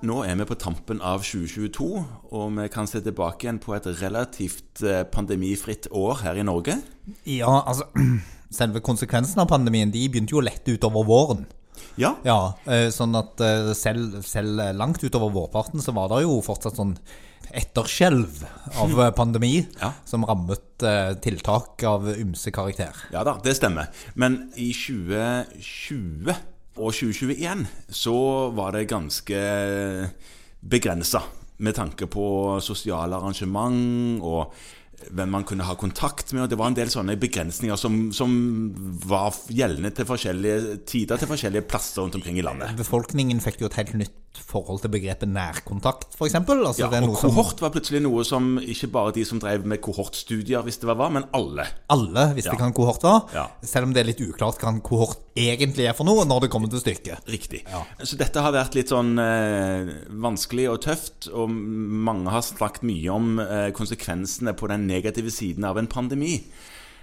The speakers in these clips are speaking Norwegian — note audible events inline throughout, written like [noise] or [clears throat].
Nå er vi på tampen av 2022, og vi kan se tilbake igjen på et relativt eh, pandemifritt år her i Norge. Ja, altså [clears throat] Selve konsekvensene av pandemien de begynte jo lett utover våren. Ja, Ja, eh, sånn at eh, selv, selv langt utover vårparten så var det jo fortsatt sånn etterskjelv av eh, pandemi [laughs] Ja. som rammet eh, tiltak av ymse karakter. ja da, det stemmer. Men i 2020 og 2021 så var det ganske begrensa med tanke på sosiale arrangement og hvem man kunne ha kontakt med. og Det var en del sånne begrensninger som, som var gjeldende til forskjellige tider til forskjellige plasser rundt omkring i landet. Befolkningen fikk jo et helt nytt forhold til begrepet nærkontakt, f.eks. Altså, Ja, det er og noe som kohort var plutselig noe som ikke bare de som drev med kohortstudier visste hva var, men alle. alle visste Ja. hva en kohort var. Ja. Selv om det er litt uklart hva en kohort egentlig er for noe, når det kommer til stykket. Riktig. Ja. Så dette har vært litt sånn eh, vanskelig og tøft, og mange har snakket mye om eh, konsekvensene på den negative siden av en pandemi.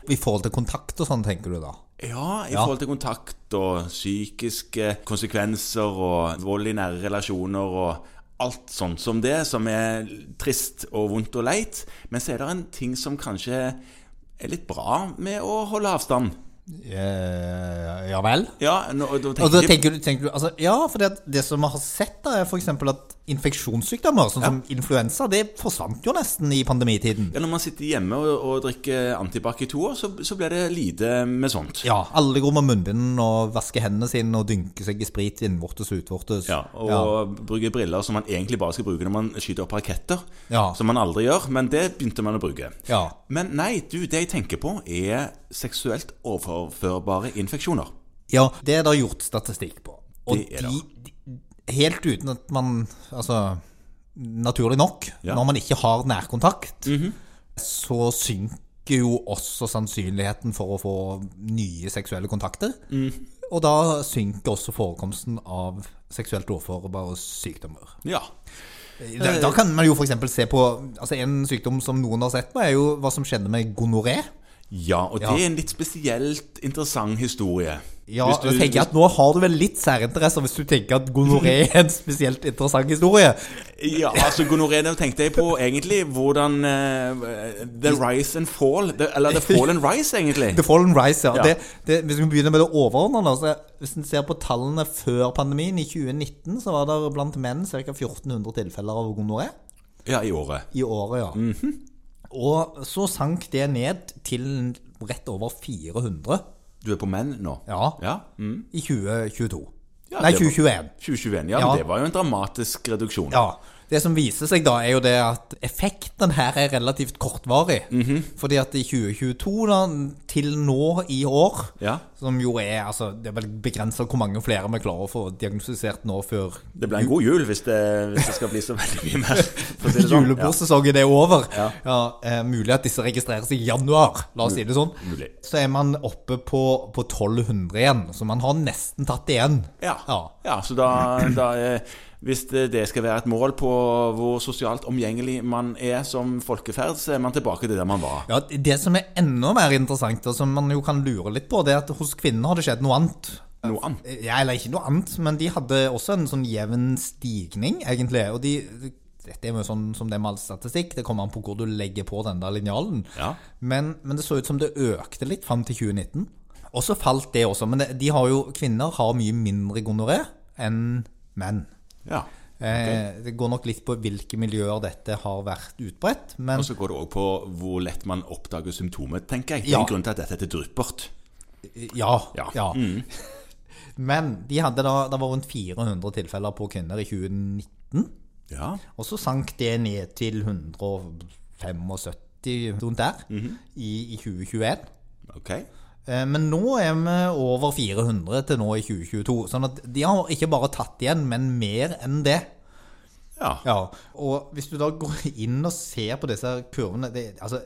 I forhold til kontakt og sånn, tenker du da? Ja, i Ja. forhold til kontakt og psykiske konsekvenser og vold i nære relasjoner og alt sånt som det, som er trist og vondt og leit. Men så er det en ting som kanskje er litt bra med å holde avstand. Eh, ja vel? Ja, nå, da Og tenker da jeg tenker du, tenker du altså, Ja, for det, det som vi har sett, da, er f.eks. at infeksjonssykdommer, sånn som influensa, det forsvant jo nesten i pandemitiden. ja, Når man sitter hjemme og, og drikker antibac i to år, så, så blir det lite med sånt. Ja, alle går med munnbind og vasker hendene sine og dynker seg i sprit innvortes og utvortes. Ja, og bruker briller som man egentlig bare skal bruke når man skyter opp raketter. Ja. Som man aldri gjør, men det begynte man å bruke. Ja. Men nei, du, det jeg tenker på er seksuelt overførbare infeksjoner. Ja, det er det gjort statistikk på. Og Det altså. er de, de, helt uten at man Altså, naturlig nok, Ja. Mhm. når man ikke har nærkontakt, så synker jo også sannsynligheten for å få nye seksuelle kontakter. Mhm. Og da synker også forekomsten av seksuelt overførbare sykdommer. Ja. Eh. Da, da kan man jo f.eks. se på altså En sykdom som noen har sett på, er jo hva som skjedde med gonoré. Ja, og Ja. det er en litt spesielt interessant historie. Ja, Hvis du- jeg tenker at Nå har du vel litt særinteresser hvis du tenker at gonoré er en spesielt interessant historie. Ja, altså gonoré, da tenkte jeg på egentlig hvordan eh, The rise and fall the, Eller the fall and rise, egentlig. The Fallen Rise, ja. Ja. Det, det, hvis vi begynner med det overordnede så Hvis en ser på tallene før pandemien, i 2019, så var det blant menn ca. 1400 tilfeller av gonoré Ja, i året. i året. ja. Mhm. Og så sank det ned til rett over 400 Du er på menn nå? ja, Ja, mm. i 2022. Ja, Nei, det var- 2021. 2021. Ja, Ja. men det var jo en dramatisk reduksjon. Ja. Det som viser seg da, er jo det at effekten her er relativt kortvarig. Mhm. Fordi at i 2022 da, til nå i år, Ja. som jo er altså, Det er vel begrensa hvor mange flere vi klarer å få diagnostisert nå før Det ble en god jul hvis det, hvis det skal bli så [laughs] veldig mye mer. For å si det sånn. julebordsesongen er over. Ja. eh, mulig at disse registreres i januar, la oss si det sånn. mulig. Så er man oppe på, på 1200 igjen, så man har nesten tatt igjen. Ja. Ja. ja, så da, da eh, Hvis det det skal være et mål på hvor sosialt omgjengelig man er som folkeferd, så er man tilbake til der man var. Ja, Det som er enda mer interessant, og som man jo kan lure litt på, det er at hos kvinner har det skjedd noe annet. Noe annet. Ja, eller ikke noe annet, men de hadde også en sånn jevn stigning, egentlig. Og de, dette er jo sånn som det med all statistikk, det kommer an på hvor du legger på den der linjalen. Ja. Men, men det så ut som det økte litt fram til 2019. Og så falt det også. Men det, de har jo, kvinner har mye mindre gonoré enn menn. Ja. Eh, det går nok litt på hvilke miljøer dette har vært utbredt. Men Og så går det òg på hvor lett man oppdager symptomer, tenker jeg. Det er Ja. en grunn til at dette heter dryppert. Ja. Ja. Mm. ja. [laughs] Men de hadde da, det var rundt 400 tilfeller på kvinner i 2019. Ja. Og så sank det ned til 175 rundt der Mhm. i, i 2021. Ok. Eh, Men nå er vi over 400 til nå i 2022. Sånn at de har ikke bare tatt igjen, men mer enn det. Ja. Ja, og hvis du da går inn og ser på disse kurvene Det, altså,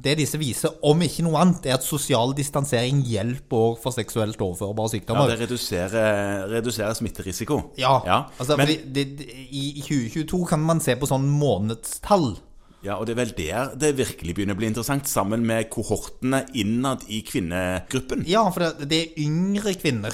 det disse viser, om ikke noe annet, er at sosial distansering hjelper også for seksuelt overførbare ja sykdommer. det reduserer, reduserer smitterisiko. Ja, ja. altså Men, fordi det, det, i i 2022 kan man se på sånn månedstall. ja, og det er vel der det virkelig begynner å bli interessant, sammen med kohortene innad i kvinnegruppen. Ja, for det, det er yngre kvinner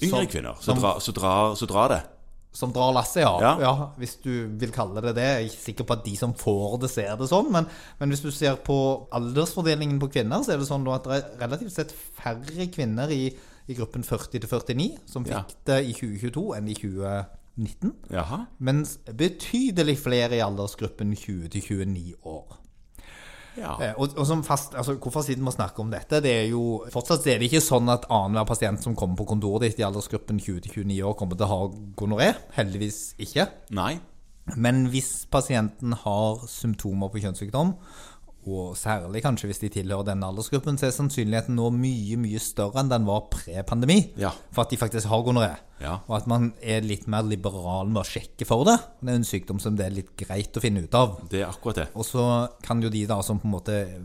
Yngre som- kvinner som- som drar, så drar, så drar det. Som drar lasset, ja. Ja. ja. Hvis du vil kalle det det. Jeg er ikke sikker på at de som får det, ser det sånn. Men, men hvis du ser på aldersfordelingen på kvinner, så er det sånn da at det er relativt sett færre kvinner i, i gruppen 40-49 som fikk Ja. det i 2022 enn i 2019. Jaha. Mens betydelig flere i aldersgruppen 20-29 år. Ja. Eh, Og, og som fast, altså, hvorfor siden vi snakker om dette, det er jo fortsatt er det ikke sånn at annenhver pasient som kommer på kontoret ditt i aldersgruppen 20-29 år, kommer til å ha gonoré. Heldigvis ikke. Nei. Men hvis pasienten har symptomer på kjønnssykdom, og særlig kanskje hvis de tilhører denne aldersgruppen, så er sannsynligheten nå mye mye større enn den var pre-pandemi Ja. for at de faktisk har gonoré. Ja. Og at man er litt mer liberal med å sjekke for det. Det er en sykdom som det er litt greit å finne ut av. Det er akkurat det. Og så kan jo de da som på en måte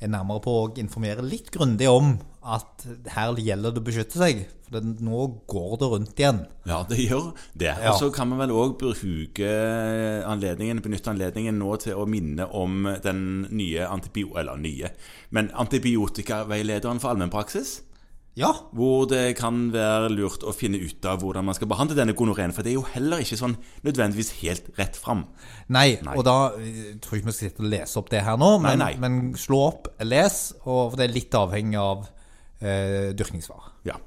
er nærmere på å informere litt grundig om at her gjelder det å beskytte seg. For det, nå går det rundt igjen. Ja, det gjør det. Ja. Og så kan vi vel òg bruke anledningen, benytte anledningen nå til å minne om den nye antibio... Eller nye, men antibiotikaveilederen for allmennpraksis. Ja. Hvor det kan være lurt å finne ut av hvordan man skal behandle denne gonoreen. For det er jo heller ikke sånn nødvendigvis helt rett fram. Nei, og da jeg tror ikke vi skal sitte og lese opp det her nå, men, nei. men slå opp, les, og for det er litt avhengig av eh, dyrkningsvar. Ja.